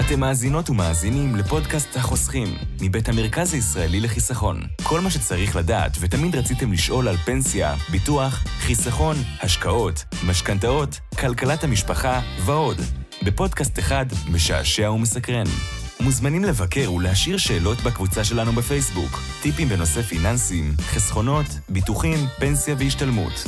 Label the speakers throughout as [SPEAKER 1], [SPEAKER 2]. [SPEAKER 1] אתם מאזינות ומאזינים לפודקאסט החוסכים, מבית המרכז הישראלי לחיסכון. כל מה שצריך לדעת ותמיד רציתם לשאול על פנסיה, ביטוח, חיסכון, השקעות, משכנתאות, כלכלת המשפחה ועוד. בפודקאסט אחד משעשע ומסקרן. מוזמנים לבקר ולהשאיר שאלות בקבוצה שלנו בפייסבוק. טיפים בנושא פיננסים, חסכונות, ביטוחים, פנסיה והשתלמות.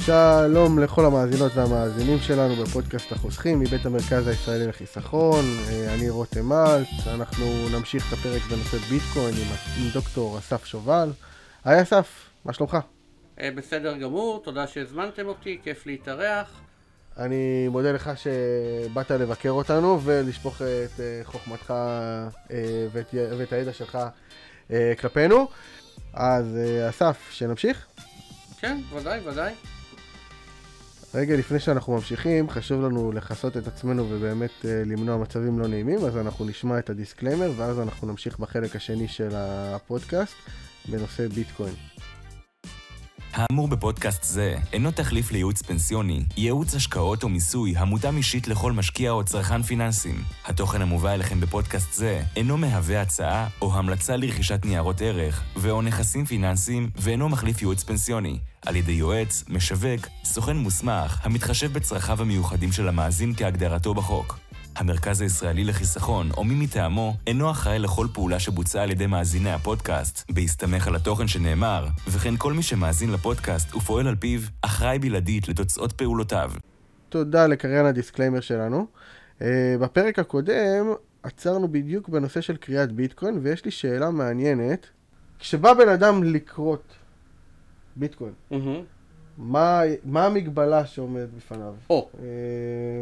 [SPEAKER 2] שלום לכל המאזינות והמאזינים שלנו בפודקאסט החוסכים מבית המרכז הישראלי לחיסכון, אה, אני רותם אלט, אנחנו נמשיך את הפרק בנושא ביטקוין עם, עם דוקטור אסף שובל. היי אסף, מה שלומך?
[SPEAKER 3] אה, בסדר גמור, תודה שהזמנתם אותי, כיף להתארח.
[SPEAKER 2] אני מודה לך שבאת לבקר אותנו ולשפוך את אה, חוכמתך אה, ואת, י- ואת הידע שלך אה, כלפינו. אז אה, אסף, שנמשיך?
[SPEAKER 3] כן, ודאי, ודאי.
[SPEAKER 2] רגע לפני שאנחנו ממשיכים, חשוב לנו לכסות את עצמנו ובאמת אה, למנוע מצבים לא נעימים, אז אנחנו נשמע את הדיסקליימר, ואז אנחנו נמשיך בחלק השני של הפודקאסט בנושא ביטקוין.
[SPEAKER 1] האמור בפודקאסט זה אינו תחליף לייעוץ פנסיוני, ייעוץ השקעות או מיסוי המותאם אישית לכל משקיע או צרכן פיננסים. התוכן המובא אליכם בפודקאסט זה אינו מהווה הצעה או המלצה לרכישת ניירות ערך ו/או נכסים פיננסיים ואינו מחליף ייעוץ פנסיוני, על ידי יועץ, משווק, סוכן מוסמך המתחשב בצרכיו המיוחדים של המאזין כהגדרתו בחוק. המרכז הישראלי לחיסכון, או מי מטעמו, אינו אחראי לכל פעולה שבוצעה על ידי מאזיני הפודקאסט, בהסתמך על התוכן שנאמר, וכן כל מי שמאזין לפודקאסט ופועל על פיו, אחראי בלעדית לתוצאות פעולותיו.
[SPEAKER 2] תודה לקריין הדיסקליימר שלנו. אה, בפרק הקודם עצרנו בדיוק בנושא של קריאת ביטקוין, ויש לי שאלה מעניינת. כשבא בן אדם לקרות ביטקוין,
[SPEAKER 3] מהמם.
[SPEAKER 2] מה, מה המגבלה שעומדת בפניו?
[SPEAKER 3] או,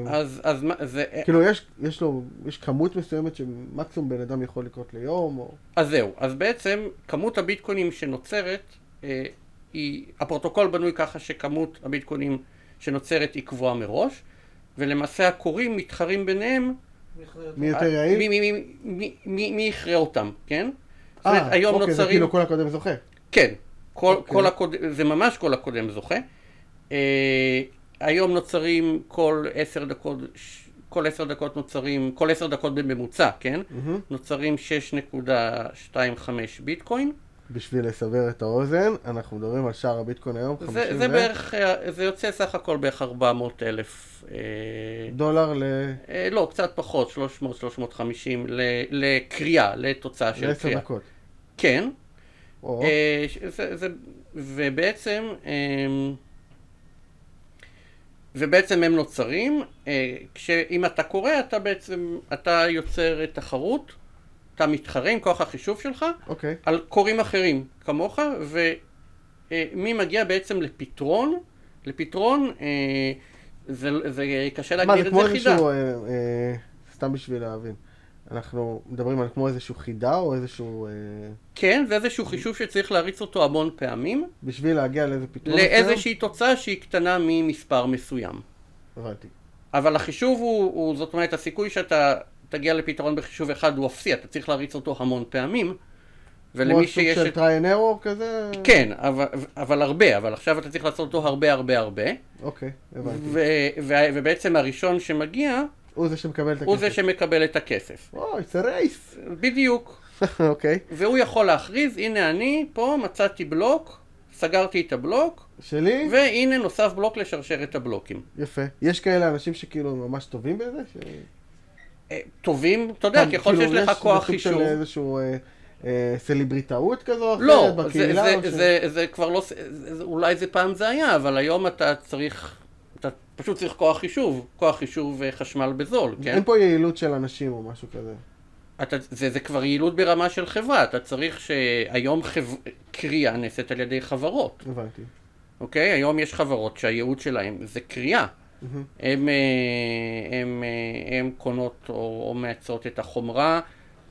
[SPEAKER 2] אה,
[SPEAKER 3] אז, אז מה, זה, אה,
[SPEAKER 2] כאילו, יש, יש לו, יש כמות מסוימת שמקסימום בן אדם יכול לקרות ליום, או...
[SPEAKER 3] אז זהו. אז בעצם, כמות הביטקוינים שנוצרת, אה, היא, הפרוטוקול בנוי ככה שכמות הביטקוינים שנוצרת היא קבועה מראש, ולמעשה הקוראים מתחרים ביניהם אה,
[SPEAKER 2] מי יותר יעיל?
[SPEAKER 3] מי- מי- מי- מי- מי- מי יכרה אותם, כן? זאת
[SPEAKER 2] אה,
[SPEAKER 3] אומרת, היום לא
[SPEAKER 2] אוקיי, זה
[SPEAKER 3] נוצרים...
[SPEAKER 2] כאילו כל הקודם זוכה.
[SPEAKER 3] כן, כל,
[SPEAKER 2] אוקיי.
[SPEAKER 3] כל הקודם, זה ממש כל הקודם זוכה. אה, היום נוצרים כל עשר דקות, ש- כל עשר דקות נוצרים, כל עשר דקות בממוצע, כן?
[SPEAKER 2] מהמם.
[SPEAKER 3] נוצרים 6.25 ביטקוין.
[SPEAKER 2] בשביל לסבר את האוזן, אנחנו מדברים על שער הביטקוין היום, 50
[SPEAKER 3] זה, זה בערך, אה, זה יוצא סך הכל בערך 400 אלף, אה,
[SPEAKER 2] דולר ל...
[SPEAKER 3] אה, לא, קצת פחות, 300-350 לקריאה, לתוצאה אה, של
[SPEAKER 2] לעשר
[SPEAKER 3] קריאה.
[SPEAKER 2] דקות.
[SPEAKER 3] כן.
[SPEAKER 2] או,
[SPEAKER 3] אה, ש- זה, זה, ובעצם, אמ, ובעצם הם נוצרים, אה, כשאם אתה קורא, אתה בעצם, אתה יוצר תחרות, אתה מתחרה עם כוח החישוב שלך,
[SPEAKER 2] אוקיי.
[SPEAKER 3] על קוראים אחרים כמוך, ומי מגיע בעצם לפתרון, לפתרון, אה, זה, זה קשה
[SPEAKER 2] מה,
[SPEAKER 3] להגדיר
[SPEAKER 2] זה
[SPEAKER 3] את
[SPEAKER 2] כמו
[SPEAKER 3] זה חידה.
[SPEAKER 2] איזשהו... אה, אה, סתם בשביל להבין. אנחנו מדברים על כמו איזשהו חידה, או איזשהו... אה,
[SPEAKER 3] כן, זה איזשהו חישוב שצריך להריץ אותו המון פעמים,
[SPEAKER 2] בשביל להגיע לאיזה פתרון מסוים?
[SPEAKER 3] לאיזושהי תוצאה שהיא קטנה ממספר מסוים.
[SPEAKER 2] הבנתי.
[SPEAKER 3] אבל החישוב הוא, הוא, זאת אומרת, הסיכוי שאתה תגיע לפתרון בחישוב אחד הוא אפסי, אתה צריך להריץ אותו המון פעמים,
[SPEAKER 2] כמו
[SPEAKER 3] ולמי
[SPEAKER 2] סוג
[SPEAKER 3] שיש...
[SPEAKER 2] של
[SPEAKER 3] את...
[SPEAKER 2] try and error כזה?
[SPEAKER 3] כן, אבל, אבל הרבה, אבל עכשיו אתה צריך לעשות אותו הרבה הרבה הרבה,
[SPEAKER 2] אוקיי, הבנתי.
[SPEAKER 3] ו, ו, ובעצם הראשון שמגיע
[SPEAKER 2] הוא זה שמקבל את הכסף.
[SPEAKER 3] הוא זה שמקבל את הכסף.
[SPEAKER 2] אוי, זה רייס.
[SPEAKER 3] בדיוק.
[SPEAKER 2] אוקיי.
[SPEAKER 3] והוא יכול להכריז, הנה אני, פה מצאתי בלוק, סגרתי את הבלוק,
[SPEAKER 2] שלי?
[SPEAKER 3] והנה נוסף בלוק לשרשרת הבלוקים.
[SPEAKER 2] יפה. יש כאלה אנשים שכאילו ממש טובים בזה? ש...
[SPEAKER 3] אה, טובים, אתה יודע, ככל
[SPEAKER 2] כאילו,
[SPEAKER 3] שיש לך כוח
[SPEAKER 2] יש
[SPEAKER 3] חישוב.
[SPEAKER 2] בסוג של איזשהו אה, אה, סלבריטאות כזו או אחרת
[SPEAKER 3] לא, זה,
[SPEAKER 2] בקהילה?
[SPEAKER 3] זה,
[SPEAKER 2] או
[SPEAKER 3] זה,
[SPEAKER 2] ש-
[SPEAKER 3] זה, זה כבר לא, ס- זה, זה, אולי זה פעם זה היה, אבל היום אתה צריך, אתה פשוט צריך כוח חישוב, כוח חישוב אה, חשמל בזול, כן?
[SPEAKER 2] אין פה יעילות של אנשים או משהו כזה.
[SPEAKER 3] אתה, זה, זה כבר יעילות ברמה של חברה, אתה צריך שהיום חב... קריאה נעשית על ידי חברות,
[SPEAKER 2] הבנתי.
[SPEAKER 3] אוקיי? היום יש חברות שהייעוד שלהן זה קריאה.
[SPEAKER 2] מהמם.
[SPEAKER 3] הם, אה, הם, אה, הם קונות או, או מייצרות את החומרה,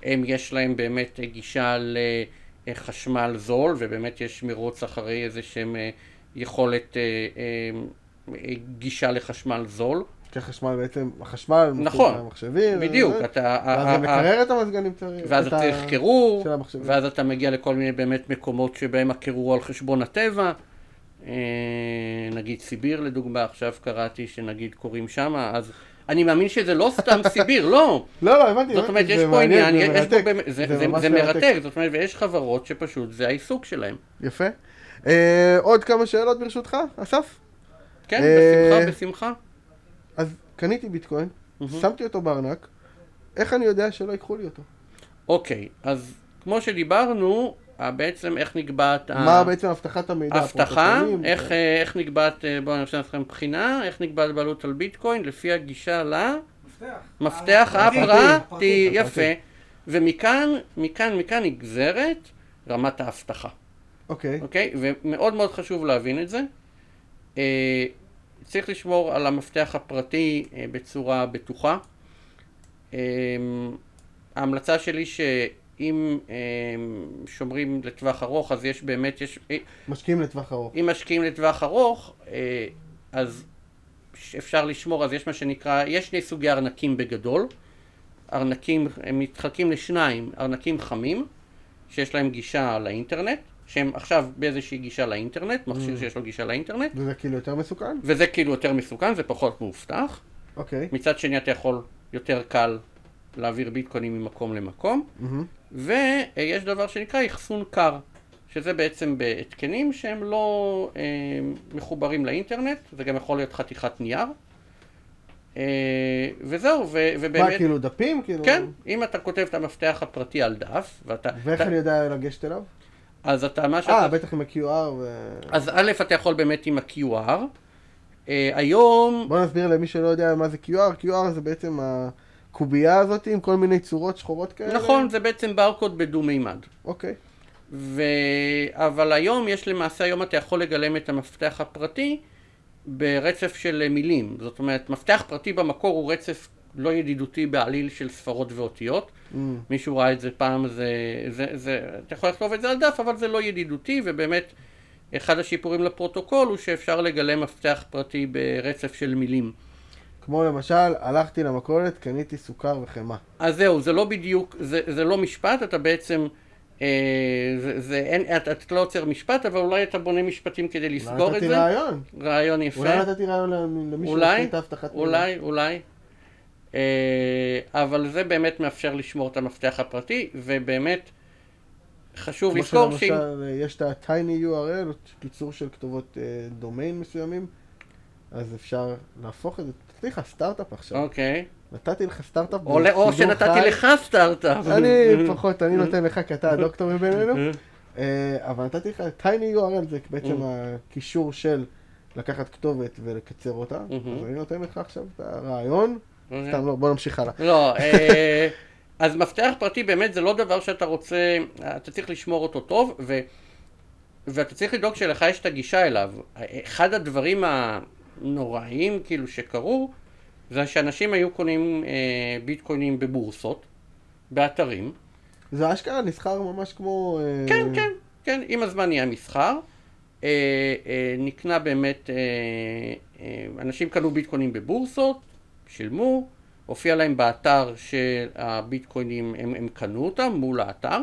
[SPEAKER 3] הם יש להם באמת אה, גישה לחשמל זול, ובאמת יש מרוץ אחרי איזה שהם אה, יכולת אה, אה, אה, גישה לחשמל זול.
[SPEAKER 2] כי החשמל בעצם, החשמל,
[SPEAKER 3] נכון.
[SPEAKER 2] המחשבים,
[SPEAKER 3] בדיוק,
[SPEAKER 2] וזה,
[SPEAKER 3] אתה...
[SPEAKER 2] כן, אה,
[SPEAKER 3] אה,
[SPEAKER 2] ואז
[SPEAKER 3] ה-
[SPEAKER 2] זה
[SPEAKER 3] ה-
[SPEAKER 2] מקרר את המזגן אם צריך, את
[SPEAKER 3] ואז אתה
[SPEAKER 2] ה-
[SPEAKER 3] צריך קירור,
[SPEAKER 2] של המחשבים.
[SPEAKER 3] ואז אתה מגיע לכל מיני באמת מקומות שבהם הקירור הוא על חשבון הטבע, אה, נגיד סיביר לדוגמה, עכשיו קראתי שנגיד קוראים שמה, אז אני מאמין שזה לא סתם סיביר, לא.
[SPEAKER 2] לא, לא, הבנתי. הבנתי,
[SPEAKER 3] זאת אומרת,
[SPEAKER 2] זה
[SPEAKER 3] יש פה
[SPEAKER 2] מעניין,
[SPEAKER 3] עניין, יש פה
[SPEAKER 2] מרתק.
[SPEAKER 3] באמת- זה- זה-
[SPEAKER 2] ממש
[SPEAKER 3] זה מרתק, זאת אומרת, ויש חברות שפשוט זה העיסוק שלהם.
[SPEAKER 2] יפה. אה, עוד כמה שאלות ברשותך, אסף?
[SPEAKER 3] כן,
[SPEAKER 2] אה,
[SPEAKER 3] בשמחה, בשמחה.
[SPEAKER 2] אז קניתי ביטקוין,
[SPEAKER 3] מהמם.
[SPEAKER 2] שמתי אותו בארנק, איך אני יודע שלא ייקחו לי אותו?
[SPEAKER 3] אוקיי, אז כמו שדיברנו, אה, בעצם איך נקבעת ה-
[SPEAKER 2] מה בעצם הבטחת המידע?
[SPEAKER 3] הבטחה,
[SPEAKER 2] הפרוטוקולים?
[SPEAKER 3] איך, אה, איך נקבעת, אה, בואו אני עושה לכם בחינה, איך נקבעת בעלות על ביטקוין לפי הגישה למפתח
[SPEAKER 2] הפרטי,
[SPEAKER 3] הפרטי,
[SPEAKER 2] אה, הפרטי.
[SPEAKER 3] יפה. ומכאן, מכאן, מכאן נגזרת רמת האבטחה,
[SPEAKER 2] אוקיי,
[SPEAKER 3] אוקיי? ומאוד מאוד חשוב להבין את זה. אה, צריך לשמור על המפתח הפרטי אה, בצורה בטוחה. אה, ההמלצה שלי שאם אה, שומרים לטווח ארוך, אז יש באמת, יש, אה,
[SPEAKER 2] משקיעים לטווח ארוך.
[SPEAKER 3] אם משקיעים לטווח ארוך, אה, אז ש- אפשר לשמור, אז יש מה שנקרא, יש שני סוגי ארנקים בגדול. ארנקים, הם מתחלקים לשניים, ארנקים חמים, שיש להם גישה לאינטרנט, שהם עכשיו באיזושהי גישה לאינטרנט, מכשיר שיש לו גישה לאינטרנט,
[SPEAKER 2] וזה כאילו יותר מסוכן?
[SPEAKER 3] וזה כאילו יותר מסוכן, זה פחות מאובטח.
[SPEAKER 2] אוקיי.
[SPEAKER 3] מצד שני אתה יכול, יותר קל להעביר ביטקוינים ממקום למקום.
[SPEAKER 2] מהמם.
[SPEAKER 3] ויש דבר שנקרא אחסון קר, שזה בעצם בהתקנים שהם לא אה, מחוברים לאינטרנט, זה גם יכול להיות חתיכת נייר. אה, וזהו, ו,
[SPEAKER 2] מה,
[SPEAKER 3] ובאמת,
[SPEAKER 2] כאילו דפים? כאילו...
[SPEAKER 3] כן, אם אתה כותב את המפתח הפרטי על דף, ואתה,
[SPEAKER 2] ואיך
[SPEAKER 3] אתה,
[SPEAKER 2] אני יודע לגשת אליו?
[SPEAKER 3] אז אתה, מה שאתה,
[SPEAKER 2] אה, בטח עם ה-QR ו...
[SPEAKER 3] אז א', אתה יכול באמת עם ה-QR, אה, היום,
[SPEAKER 2] בוא נסביר למי שלא יודע מה זה QR. QR זה בעצם הקובייה הזאת עם כל מיני צורות שחורות כאלה.
[SPEAKER 3] נכון, זה בעצם ברקוד בדו מימד.
[SPEAKER 2] אוקיי.
[SPEAKER 3] ו... אבל היום יש למעשה, היום אתה יכול לגלם את המפתח הפרטי ברצף של מילים. זאת אומרת, מפתח פרטי במקור הוא רצף לא ידידותי בעליל של ספרות ואותיות.
[SPEAKER 2] אמ,
[SPEAKER 3] מישהו ראה את זה פעם, זה, זה, זה, אתה יכול לכתוב את זה על דף, אבל זה לא ידידותי, ובאמת, אחד השיפורים לפרוטוקול הוא שאפשר לגלם מפתח פרטי ברצף של מילים.
[SPEAKER 2] כמו למשל, הלכתי למכולת, קניתי סוכר וחמאה.
[SPEAKER 3] אז זהו, זה לא בדיוק, זה, זה לא משפט, אתה בעצם, אה, זה, זה, אין, אתה, אתה לא יוצר משפט, אבל אולי אתה בונה משפטים כדי לסגור את
[SPEAKER 2] אולי נתתי
[SPEAKER 3] זה.
[SPEAKER 2] רעיון.
[SPEAKER 3] רעיון יפה.
[SPEAKER 2] אולי נתתי רעיון למ- למישהו
[SPEAKER 3] אולי,
[SPEAKER 2] את ההבטחת מידע.
[SPEAKER 3] אולי, אולי. אה, אבל זה באמת מאפשר לשמור את המפתח הפרטי, ובאמת חשוב
[SPEAKER 2] כמו
[SPEAKER 3] לזכור ש...
[SPEAKER 2] שלמשל, אה, יש את ה-tiny URL, קיצור של כתובות אה, דומיין מסוימים, אז אפשר להפוך את זה. נתתי לך סטארט-אפ עכשיו.
[SPEAKER 3] אוקיי.
[SPEAKER 2] נתתי לך סטארט-אפ.
[SPEAKER 3] או, או
[SPEAKER 2] בשידור חי.
[SPEAKER 3] שנתתי לך סטארט-אפ.
[SPEAKER 2] אני פחות, אני נותן לך, כי אתה הדוקטור מבינינו.
[SPEAKER 3] אה,
[SPEAKER 2] אה, אבל נתתי לך, tiny URL זה בעצם
[SPEAKER 3] אוקיי.
[SPEAKER 2] הקישור של לקחת כתובת ולקצר אותה, אז אני נותן לך עכשיו את הרעיון,
[SPEAKER 3] אוקיי.
[SPEAKER 2] סתם לא, בוא נמשיך הלאה.
[SPEAKER 3] לא, אה, אז מפתח פרטי באמת זה לא דבר שאתה רוצה, אתה צריך לשמור אותו טוב, ו, ואתה צריך לדאוג שלך יש את הגישה אליו. אחד הדברים הנוראים כאילו שקרו, זה שאנשים היו קונים אה, ביטקוינים בבורסות, באתרים.
[SPEAKER 2] זה אשכרה נסחר ממש כמו... אה,
[SPEAKER 3] כן, כן, כן, עם הזמן נהיה מסחר. אה, אה, נקנה באמת, אה, אה, אנשים קנו ביטקוינים בבורסות, שילמו, הופיע להם באתר שהביטקוינים, הם, הם קנו אותם מול האתר,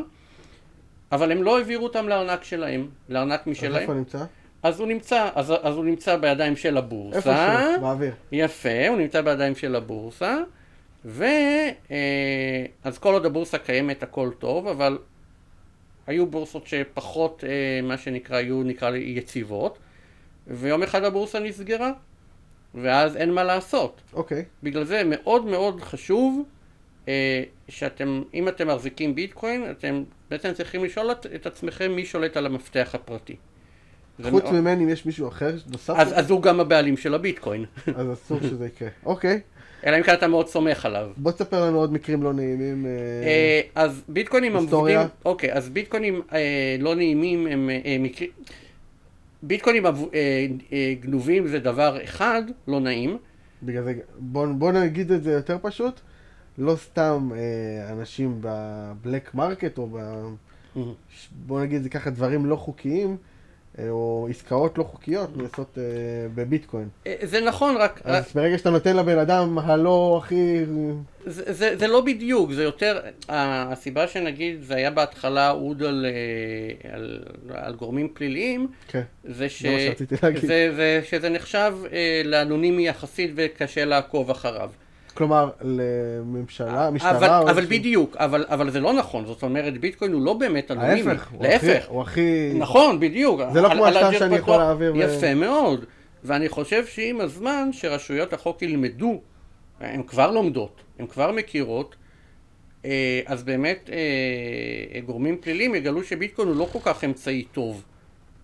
[SPEAKER 3] אבל הם לא העבירו אותם לארנק שלהם, לארנק
[SPEAKER 2] אז איפה
[SPEAKER 3] משלהם.
[SPEAKER 2] נמצא?
[SPEAKER 3] אז הוא נמצא, אז, אז הוא נמצא בידיים של הבורסה.
[SPEAKER 2] איפה שהוא? באוויר.
[SPEAKER 3] יפה, הוא נמצא בידיים של הבורסה, ו... אה, אז כל עוד הבורסה קיימת הכל טוב, אבל היו בורסות שפחות, אה, מה שנקרא, היו נקרא לי יציבות, ויום אחד הבורסה נסגרה, ואז אין מה לעשות.
[SPEAKER 2] אוקיי.
[SPEAKER 3] בגלל זה מאוד מאוד חשוב אה, שאתם, אם אתם מחזיקים ביטקוין, אתם בעצם צריכים לשאול את, את עצמכם מי שולט על המפתח הפרטי. זה
[SPEAKER 2] חוץ
[SPEAKER 3] מאוד-
[SPEAKER 2] ממני אם יש מישהו אחר נוסף,
[SPEAKER 3] אז, אז הוא גם הבעלים של הביטקוין,
[SPEAKER 2] אז אסור שזה יקרה. אוקיי,
[SPEAKER 3] אלא אם כן אתה מאוד סומך עליו.
[SPEAKER 2] בוא תספר לנו עוד מקרים לא נעימים. אה,
[SPEAKER 3] אה, אז ביטקוינים
[SPEAKER 2] היסטוריה?
[SPEAKER 3] המבוטים, אוקיי, אז ביטקוינים אה, לא נעימים הם אה, מקרים, ביטקוינים אב- אה, אה, גנובים זה דבר אחד, לא נעים,
[SPEAKER 2] בגלל זה, בוא, בוא נגיד את זה יותר פשוט, לא סתם אה, אנשים Mm-hmm. בבלק מרקט או ב... בוא נגיד את זה ככה, דברים לא חוקיים, אה, או עסקאות לא חוקיות נעשות אה, בביטקוין.
[SPEAKER 3] אה, זה נכון, רק... רק-
[SPEAKER 2] אז ברגע שאתה נותן לבן אדם הלא הכי...
[SPEAKER 3] זה, זה, זה לא בדיוק, זה יותר, ה- הסיבה שנגיד זה היה בהתחלה אוד על, אה, על, על גורמים פליליים,
[SPEAKER 2] כן.
[SPEAKER 3] זה, ש...
[SPEAKER 2] זה מה שרציתי להגיד.
[SPEAKER 3] זה, זה שזה נחשב אה, לאנונימי יחסית וקשה לעקוב אחריו.
[SPEAKER 2] כלומר, לממשלה, משטרה...
[SPEAKER 3] אבל,
[SPEAKER 2] או
[SPEAKER 3] אבל
[SPEAKER 2] איזשהו-
[SPEAKER 3] בדיוק, אבל, אבל זה לא נכון, זאת אומרת ביטקוין הוא לא באמת אנונימי,
[SPEAKER 2] ההפך, הוא הכי-
[SPEAKER 3] להפך,
[SPEAKER 2] הוא הכי...
[SPEAKER 3] נכון, בדיוק.
[SPEAKER 2] זה לא
[SPEAKER 3] על-
[SPEAKER 2] כמו
[SPEAKER 3] על
[SPEAKER 2] השטר
[SPEAKER 3] הג'יר
[SPEAKER 2] שאני יכול
[SPEAKER 3] פתוח.
[SPEAKER 2] להעביר ו-
[SPEAKER 3] יפה מאוד. ואני חושב שעם הזמן שרשויות החוק ילמדו, הן כבר לומדות, הן כבר מכירות, אה, אז באמת אה, גורמים פליליים יגלו שביטקוין הוא לא כל כך אמצעי טוב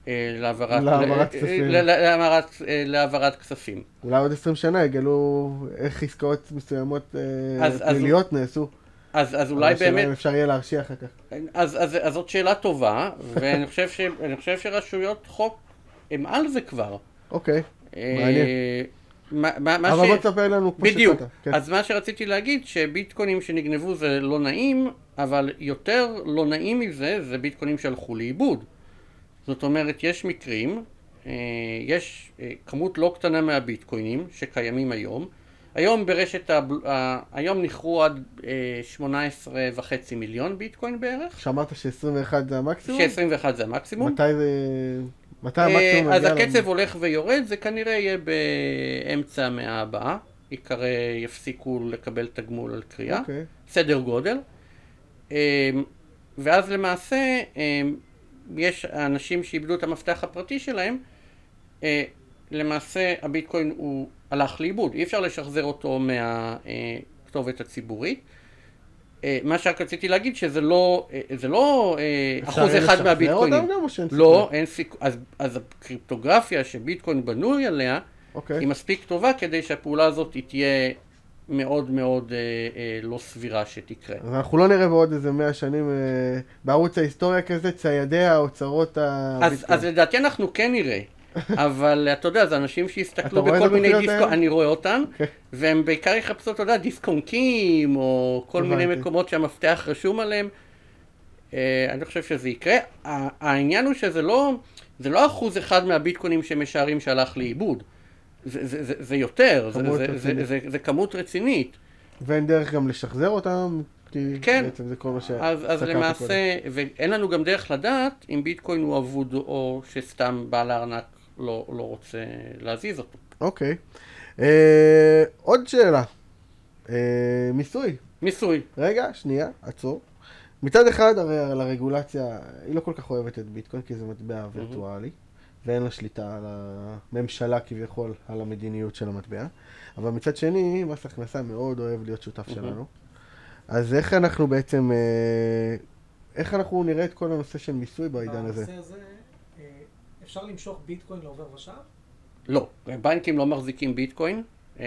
[SPEAKER 3] אה, להעברת
[SPEAKER 2] להעברת
[SPEAKER 3] אה,
[SPEAKER 2] כספים.
[SPEAKER 3] אה, לה- להעברת- אה, להעברת כספים.
[SPEAKER 2] אולי עוד 20 שנה יגלו איך עסקאות מסוימות אה,
[SPEAKER 3] אז- אז-
[SPEAKER 2] פליליות נעשו.
[SPEAKER 3] אז אז אולי
[SPEAKER 2] אבל השאלה
[SPEAKER 3] באמת
[SPEAKER 2] אם אפשר יהיה להרשיע אחר כך.
[SPEAKER 3] אז, אז, אז זאת שאלה טובה, ואני חושב, ש, אני חושב שרשויות חוק הן על זה כבר.
[SPEAKER 2] אוקיי.
[SPEAKER 3] אה,
[SPEAKER 2] מעניין.
[SPEAKER 3] מה, מה, מה
[SPEAKER 2] אבל
[SPEAKER 3] ש...
[SPEAKER 2] בוא תספר לנו כמו
[SPEAKER 3] בדיוק.
[SPEAKER 2] שהתחלת. כן.
[SPEAKER 3] אז מה שרציתי להגיד, שביטקוינים שנגנבו זה לא נעים, אבל יותר לא נעים מזה, זה ביטקוינים שהלכו לאיבוד. זאת אומרת, יש מקרים, אה, יש אה, כמות לא קטנה מהביטקוינים שקיימים היום. היום ברשת, הבל... ה... היום נכרו עד אה, 18 וחצי מיליון ביטקוין בערך,
[SPEAKER 2] שאמרת ש-21 זה המקסימום?
[SPEAKER 3] ש-21 זה המקסימום.
[SPEAKER 2] מתי זה... מתי המקסימום מגיע
[SPEAKER 3] אה, אז
[SPEAKER 2] לנו?
[SPEAKER 3] הקצב הולך ויורד, זה כנראה יהיה באמצע המאה הבאה. עיקרי יפסיקו לקבל תגמול על קריאה,
[SPEAKER 2] אוקיי.
[SPEAKER 3] סדר גודל. אה, ואז למעשה אה, יש אנשים שאיבדו את המפתח הפרטי שלהם, אה, למעשה הביטקוין הוא הלך לאיבוד, אי אפשר לשחזר אותו מהכתובת הציבורית. אה, מה שרק רציתי להגיד שזה לא, אה, זה לא אה,
[SPEAKER 2] אפשר
[SPEAKER 3] אחוז
[SPEAKER 2] יהיה
[SPEAKER 3] אחד
[SPEAKER 2] לשחזר
[SPEAKER 3] מהביטקוינים.
[SPEAKER 2] אותם גם או שאין
[SPEAKER 3] לא,
[SPEAKER 2] סיכוי?
[SPEAKER 3] אין סיכוי. אז, אז הקריפטוגרפיה שביטקוין בנוי עליה,
[SPEAKER 2] אוקיי.
[SPEAKER 3] היא מספיק טובה כדי שהפעולה הזאת היא תהיה מאוד מאוד אה, אה, לא סבירה שתקרה.
[SPEAKER 2] אז אנחנו לא נראה בעוד איזה 100 שנים אה, בערוץ ההיסטוריה כזה, ציידי האוצרות
[SPEAKER 3] אז,
[SPEAKER 2] הביטקוין.
[SPEAKER 3] אז לדעתי אנחנו כן נראה. אבל אתה יודע, זה אנשים שהסתכלו
[SPEAKER 2] אתה רואה
[SPEAKER 3] בכל
[SPEAKER 2] את
[SPEAKER 3] מיני
[SPEAKER 2] התוכניות
[SPEAKER 3] דיסקו,
[SPEAKER 2] האלה?
[SPEAKER 3] אני רואה אותם,
[SPEAKER 2] אוקיי.
[SPEAKER 3] והם בעיקר יחפשו, אתה יודע, דיסקונקים, או כל מיני
[SPEAKER 2] הבנתי.
[SPEAKER 3] מקומות שהמפתח רשום עליהם. אה, אני חושב שזה יקרה. ה- העניין הוא שזה לא, זה לא אחוז אחד מהביטקוינים שמשערים שהלך לאיבוד. זה, זה, זה, זה יותר, זה,
[SPEAKER 2] כמות
[SPEAKER 3] זה, זה,
[SPEAKER 2] רצינית.
[SPEAKER 3] זה, זה כמות רצינית.
[SPEAKER 2] ואין דרך גם לשחזר אותם, כי
[SPEAKER 3] כן.
[SPEAKER 2] בעצם זה כל מה ש...
[SPEAKER 3] אז, אז
[SPEAKER 2] סקרת קודם.
[SPEAKER 3] למעשה, ואין לנו גם דרך לדעת אם ביטקוין הוא אבוד או שסתם בעל הארנק לא, לא רוצה להזיז אותו.
[SPEAKER 2] אוקיי. אה, עוד שאלה. אה, מיסוי.
[SPEAKER 3] מיסוי.
[SPEAKER 2] רגע, שנייה, עצור. מצד אחד, הרי על הרגולציה, היא לא כל כך אוהבת את ביטקוין, כי זה מטבע וירטואלי, ואין לה שליטה על הממשלה כביכול, על המדיניות של המטבע. אבל מצד שני, מס הכנסה מאוד אוהב להיות שותף שלנו. אז איך אנחנו בעצם, אה, איך אנחנו נראה את כל הנושא של מיסוי בעידן הזה?
[SPEAKER 4] בנושא הזה, אה, אפשר למשוך ביטקוין לעובר ושב?
[SPEAKER 3] לא, בנקים לא מחזיקים ביטקוין. אה,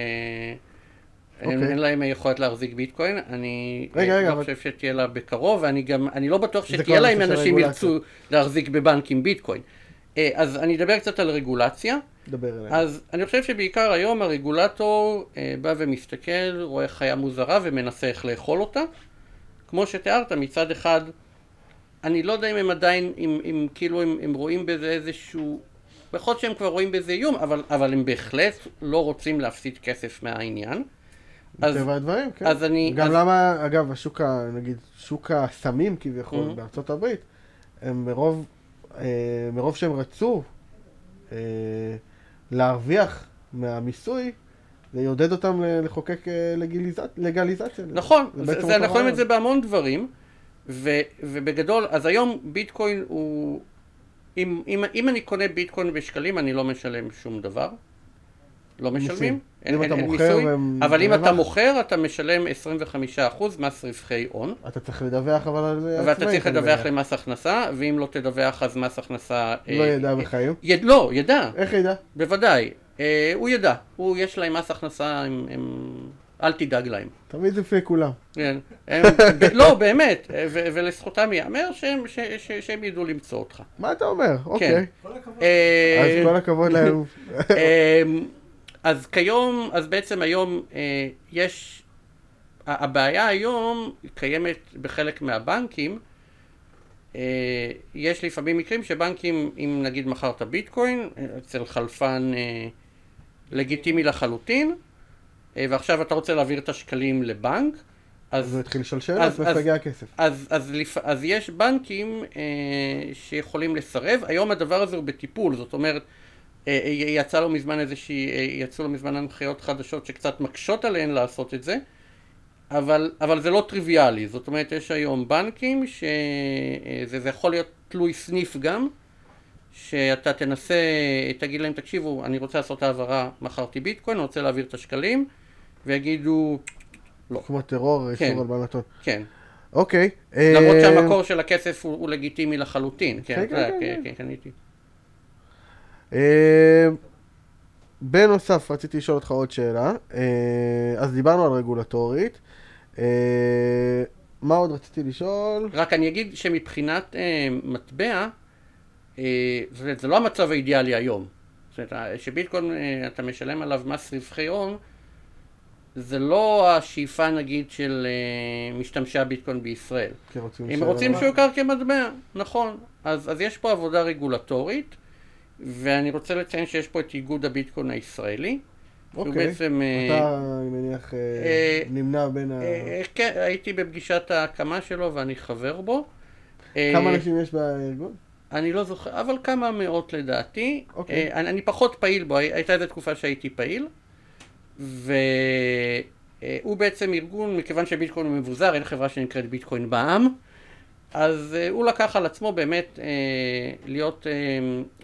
[SPEAKER 3] אין
[SPEAKER 2] אוקיי.
[SPEAKER 3] אין להם יכולת להחזיק ביטקוין, אני
[SPEAKER 2] רגע,
[SPEAKER 3] אה,
[SPEAKER 2] רגע,
[SPEAKER 3] לא
[SPEAKER 2] אבל-
[SPEAKER 3] חושב שתהיה לה בקרוב, ואני גם, אני לא בטוח
[SPEAKER 2] זה
[SPEAKER 3] שתהיה
[SPEAKER 2] כבר
[SPEAKER 3] לה אם
[SPEAKER 2] נושא של
[SPEAKER 3] אנשים
[SPEAKER 2] רגולציה.
[SPEAKER 3] ירצו להחזיק בבנקים ביטקוין. אה, אז אני אדבר קצת על רגולציה.
[SPEAKER 2] דבר אליי.
[SPEAKER 3] אז אני חושב שבעיקר היום הרגולטור אה, בא ומסתכל, רואה חיה מוזרה ומנסה איך לאכול אותה. כמו שתיארת, מצד אחד, אני לא יודע אם הם עדיין, אם, אם כאילו הם, הם רואים בזה איזשהו... בכל שהם כבר רואים בזה איום, אבל, אבל הם בהחלט לא רוצים להפסיד כסף מהעניין. אז,
[SPEAKER 2] מטבע הדברים, כן.
[SPEAKER 3] אז אני...
[SPEAKER 2] גם
[SPEAKER 3] אז,
[SPEAKER 2] למה, אגב, השוק, ה- נגיד, שוק הסמים כביכול
[SPEAKER 3] Mhm.
[SPEAKER 2] בארצות הברית, הם מרוב, אה, מרוב שהם רצו אה, להרוויח מהמיסוי, זה יעודד אותם ל- לחוקק אה, לגיליזצ- לגליזציה.
[SPEAKER 3] נכון,
[SPEAKER 2] זה
[SPEAKER 3] זה,
[SPEAKER 2] בעצם
[SPEAKER 3] זה,
[SPEAKER 2] אותו
[SPEAKER 3] אנחנו רואים
[SPEAKER 2] רעיון.
[SPEAKER 3] את זה בהמון דברים, ו, ובגדול, אז היום ביטקוין הוא... אם, אם, אם אני קונה ביטקוין בשקלים, אני לא משלם שום דבר. לא
[SPEAKER 2] מיסים.
[SPEAKER 3] משלמים.
[SPEAKER 2] אם אתה מוכר, הם-
[SPEAKER 3] אבל אם אתה
[SPEAKER 2] רווח.
[SPEAKER 3] מוכר, אתה משלם 25% מס רווחי הון.
[SPEAKER 2] אתה צריך לדווח, אבל על אה, זה
[SPEAKER 3] ואתה
[SPEAKER 2] עצמאי,
[SPEAKER 3] צריך
[SPEAKER 2] אתה
[SPEAKER 3] לדווח
[SPEAKER 2] מדווח.
[SPEAKER 3] למס הכנסה, ואם לא תדווח, אז מס הכנסה...
[SPEAKER 2] לא
[SPEAKER 3] אה,
[SPEAKER 2] ידע
[SPEAKER 3] אה,
[SPEAKER 2] בחיים.
[SPEAKER 3] יד, לא, ידע,
[SPEAKER 2] איך ידע?
[SPEAKER 3] בוודאי. אה, הוא ידע. הוא, יש להם מס הכנסה, הם, הם... אל תדאג להם.
[SPEAKER 2] תמיד זה לפני כולם.
[SPEAKER 3] כן. הם- ב- לא, באמת, ו- ולזכותם ייאמר שהם- ש- ש- שהם ידעו למצוא אותך.
[SPEAKER 2] מה אתה אומר? אוקיי.
[SPEAKER 4] כל הכבוד.
[SPEAKER 3] כן. אה,
[SPEAKER 2] אז כל הכבוד להם.
[SPEAKER 3] אה, אז כיום, אז בעצם היום אה, יש, ה- הבעיה היום קיימת בחלק מהבנקים, אה, יש לפעמים מקרים שבנקים, אם נגיד מכרת ביטקוין, אה, אצל חלפן אה, לגיטימי לחלוטין, אה, ועכשיו אתה רוצה להעביר את השקלים לבנק,
[SPEAKER 2] אז
[SPEAKER 3] אז
[SPEAKER 2] הוא התחיל לשאול שאלות
[SPEAKER 3] אז-
[SPEAKER 2] ואיפה
[SPEAKER 3] אז-
[SPEAKER 2] הגיע הכסף.
[SPEAKER 3] אז, אז, לפ... אז יש בנקים אה, שיכולים לסרב, היום הדבר הזה הוא בטיפול, זאת אומרת, אה, אה, יצא לו מזמן איזושהי, אה, יצאו לו מזמן הנחיות חדשות שקצת מקשות עליהן לעשות את זה, אבל, אבל זה לא טריוויאלי, זאת אומרת, יש היום בנקים שזה אה, זה- זה יכול להיות תלוי סניף גם, שאתה תנסה, תגיד להם, תקשיבו, אני רוצה לעשות העברה, מכרתי ביטקוין, אני רוצה להעביר את השקלים, ויגידו,
[SPEAKER 2] כמו טרור,
[SPEAKER 3] כן.
[SPEAKER 2] איסור הלבנת הון.
[SPEAKER 3] כן.
[SPEAKER 2] אוקיי.
[SPEAKER 3] למרות
[SPEAKER 2] אה,
[SPEAKER 3] שהמקור של הכסף הוא, הוא לגיטימי לחלוטין, כן,
[SPEAKER 2] כן,
[SPEAKER 3] אתה יודע,
[SPEAKER 2] כן,
[SPEAKER 3] כן,
[SPEAKER 2] כן,
[SPEAKER 3] כן, קניתי.
[SPEAKER 2] אה, בנוסף, רציתי לשאול אותך עוד שאלה. אה, אז דיברנו על רגולטורית. אה, מה עוד רציתי לשאול?
[SPEAKER 3] רק אני אגיד שמבחינת אה, מטבע, אה, זאת אומרת, זה לא המצב האידיאלי היום. זאת אומרת, שביטקוין אה, אתה משלם עליו מס רווחי הון, זה לא השאיפה נגיד של אה, משתמשי הביטקוין בישראל.
[SPEAKER 2] כי כן, רוצים
[SPEAKER 3] הם
[SPEAKER 2] ש-
[SPEAKER 3] רוצים שהוא יוכר כמטבע, נכון. אז, אז יש פה עבודה רגולטורית, ואני רוצה לציין שיש פה את איגוד הביטקוין הישראלי. שהוא
[SPEAKER 2] אוקיי.
[SPEAKER 3] בעצם, אה,
[SPEAKER 2] אתה, אני מניח, אה,
[SPEAKER 3] אה,
[SPEAKER 2] נמנע בין ה...
[SPEAKER 3] אה, כן, הייתי בפגישת ההקמה שלו ואני חבר בו.
[SPEAKER 2] כמה
[SPEAKER 3] אה,
[SPEAKER 2] אנשים יש בארגון?
[SPEAKER 3] אני לא זוכר, אבל כמה מאות לדעתי.
[SPEAKER 2] אוקיי.
[SPEAKER 3] אה, אני, אני פחות פעיל בו, הי- הייתה איזו תקופה שהייתי פעיל. והוא בעצם ארגון, מכיוון שביטקוין הוא מבוזר, אין חברה שנקראת ביטקוין בעם. אז אה, הוא לקח על עצמו באמת אה, להיות, אה,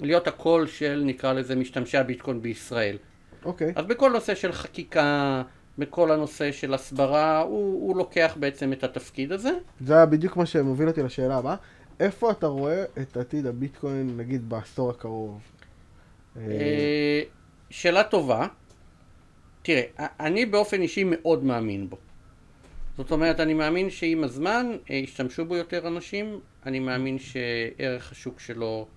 [SPEAKER 3] להיות הקול של, נקרא לזה, משתמשי הביטקוין בישראל.
[SPEAKER 2] אוקיי.
[SPEAKER 3] אז בכל נושא של חקיקה, בכל הנושא של הסברה, הוא, הוא לוקח בעצם את התפקיד הזה.
[SPEAKER 2] זה היה בדיוק מה שמוביל אותי לשאלה הבאה. איפה אתה רואה את עתיד הביטקוין, נגיד, בעשור הקרוב? אה,
[SPEAKER 3] אה, שאלה טובה. תראה, א- אני באופן אישי מאוד מאמין בו. זאת אומרת, אני מאמין שעם הזמן אה, ישתמשו בו יותר אנשים, אני מאמין שערך השוק שלו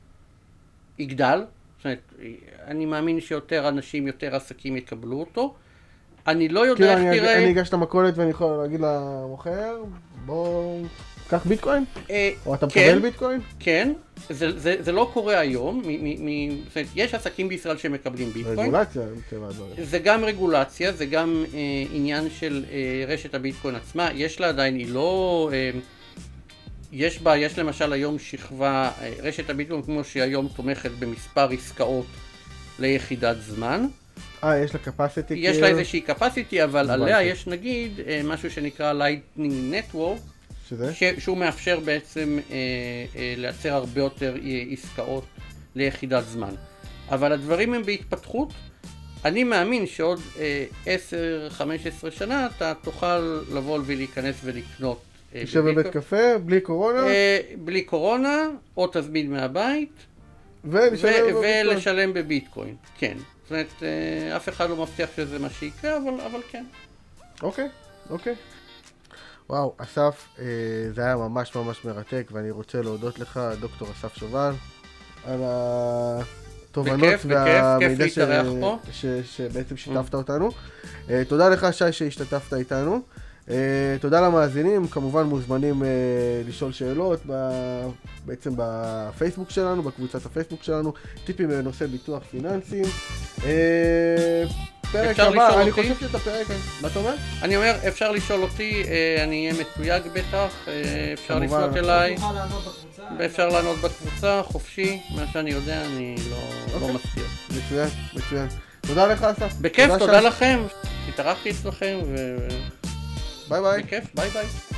[SPEAKER 3] יגדל, זאת אומרת, אה, אני מאמין שיותר אנשים, יותר עסקים יקבלו אותו. אני לא
[SPEAKER 2] כאילו,
[SPEAKER 3] יודע איך
[SPEAKER 2] אני-
[SPEAKER 3] תראה...
[SPEAKER 2] אני אגש למכולת ואני יכול להגיד למוכר, בוא, קח ביטקוין?
[SPEAKER 3] אה,
[SPEAKER 2] או אתה
[SPEAKER 3] כן.
[SPEAKER 2] מקבל ביטקוין?
[SPEAKER 3] כן, זה, זה, זה לא קורה היום, מ, מ, מ, זאת אומרת, יש עסקים בישראל שמקבלים ביטקוין,
[SPEAKER 2] רגולציה, מטבע הדברים.
[SPEAKER 3] זה גם רגולציה, זה גם אה, עניין של אה, רשת הביטקוין עצמה, יש לה עדיין, היא לא... אה, יש בה, יש למשל היום שכבה, אה, רשת הביטקוין כמו שהיום תומכת במספר עסקאות ליחידת זמן,
[SPEAKER 2] אה, יש לה capacity כאילו,
[SPEAKER 3] יש לה איזושהי capacity, אבל
[SPEAKER 2] הבנתי.
[SPEAKER 3] עליה יש נגיד אה, משהו שנקרא Lightning Network,
[SPEAKER 2] שזה?
[SPEAKER 3] ש, שהוא מאפשר בעצם אה, אה, לייצר הרבה יותר אה, עסקאות ליחידת זמן. אבל הדברים הם בהתפתחות. אני מאמין שעוד אה, 10-15 שנה אתה תוכל לבוא ולהיכנס ולקנות. אה,
[SPEAKER 2] תשב בבית
[SPEAKER 3] בביטקוין.
[SPEAKER 2] קפה, בלי קורונה,
[SPEAKER 3] אה, בלי קורונה, או תזמין מהבית,
[SPEAKER 2] ונשאר
[SPEAKER 3] ו-
[SPEAKER 2] לנו בביטקוין.
[SPEAKER 3] ולשלם בביטקוין, כן. זאת אומרת, אה, אף אחד לא מבטיח שזה מה שיקרה, אבל, אבל כן.
[SPEAKER 2] אוקיי, אוקיי. וואו, אסף, אה, זה היה ממש ממש מרתק, ואני רוצה להודות לך, דוקטור אסף שובל, על התובנות
[SPEAKER 3] בכיף, בכיף,
[SPEAKER 2] והמידע
[SPEAKER 3] כיף
[SPEAKER 2] ש...
[SPEAKER 3] להתארח פה. Mm.
[SPEAKER 2] ש... שבעצם שיתפת אותנו. אה, תודה לך, שי, שהשתתפת איתנו. אה, תודה למאזינים, כמובן מוזמנים אה, לשאול שאלות ב... בעצם בפייסבוק שלנו, בקבוצת הפייסבוק שלנו, טיפים בנושא ביטוח פיננסים. אה, פרק
[SPEAKER 3] אפשר
[SPEAKER 2] הבא,
[SPEAKER 3] לשאול
[SPEAKER 2] אני
[SPEAKER 3] אותי?
[SPEAKER 2] חושב שאת הפרק, מה אתה אומר?
[SPEAKER 3] אני אומר, אפשר לשאול אותי, אה, אני אהיה מתויג בטח, אה, אפשר
[SPEAKER 2] כמובן,
[SPEAKER 3] לפנות
[SPEAKER 2] אנחנו
[SPEAKER 3] אליי.
[SPEAKER 4] נוכל לענות בקבוצה.
[SPEAKER 3] ואפשר לענות בקבוצה, חופשי, מה שאני יודע, אני לא, לא
[SPEAKER 2] אוקיי.
[SPEAKER 3] מסתיר.
[SPEAKER 2] מצוין, מצוין. תודה לך, אסף.
[SPEAKER 3] בכיף, תודה
[SPEAKER 2] שי.
[SPEAKER 3] לכם, התארחתי אצלכם, ו-
[SPEAKER 2] ביי ביי.
[SPEAKER 3] ובכיף, ביי ביי.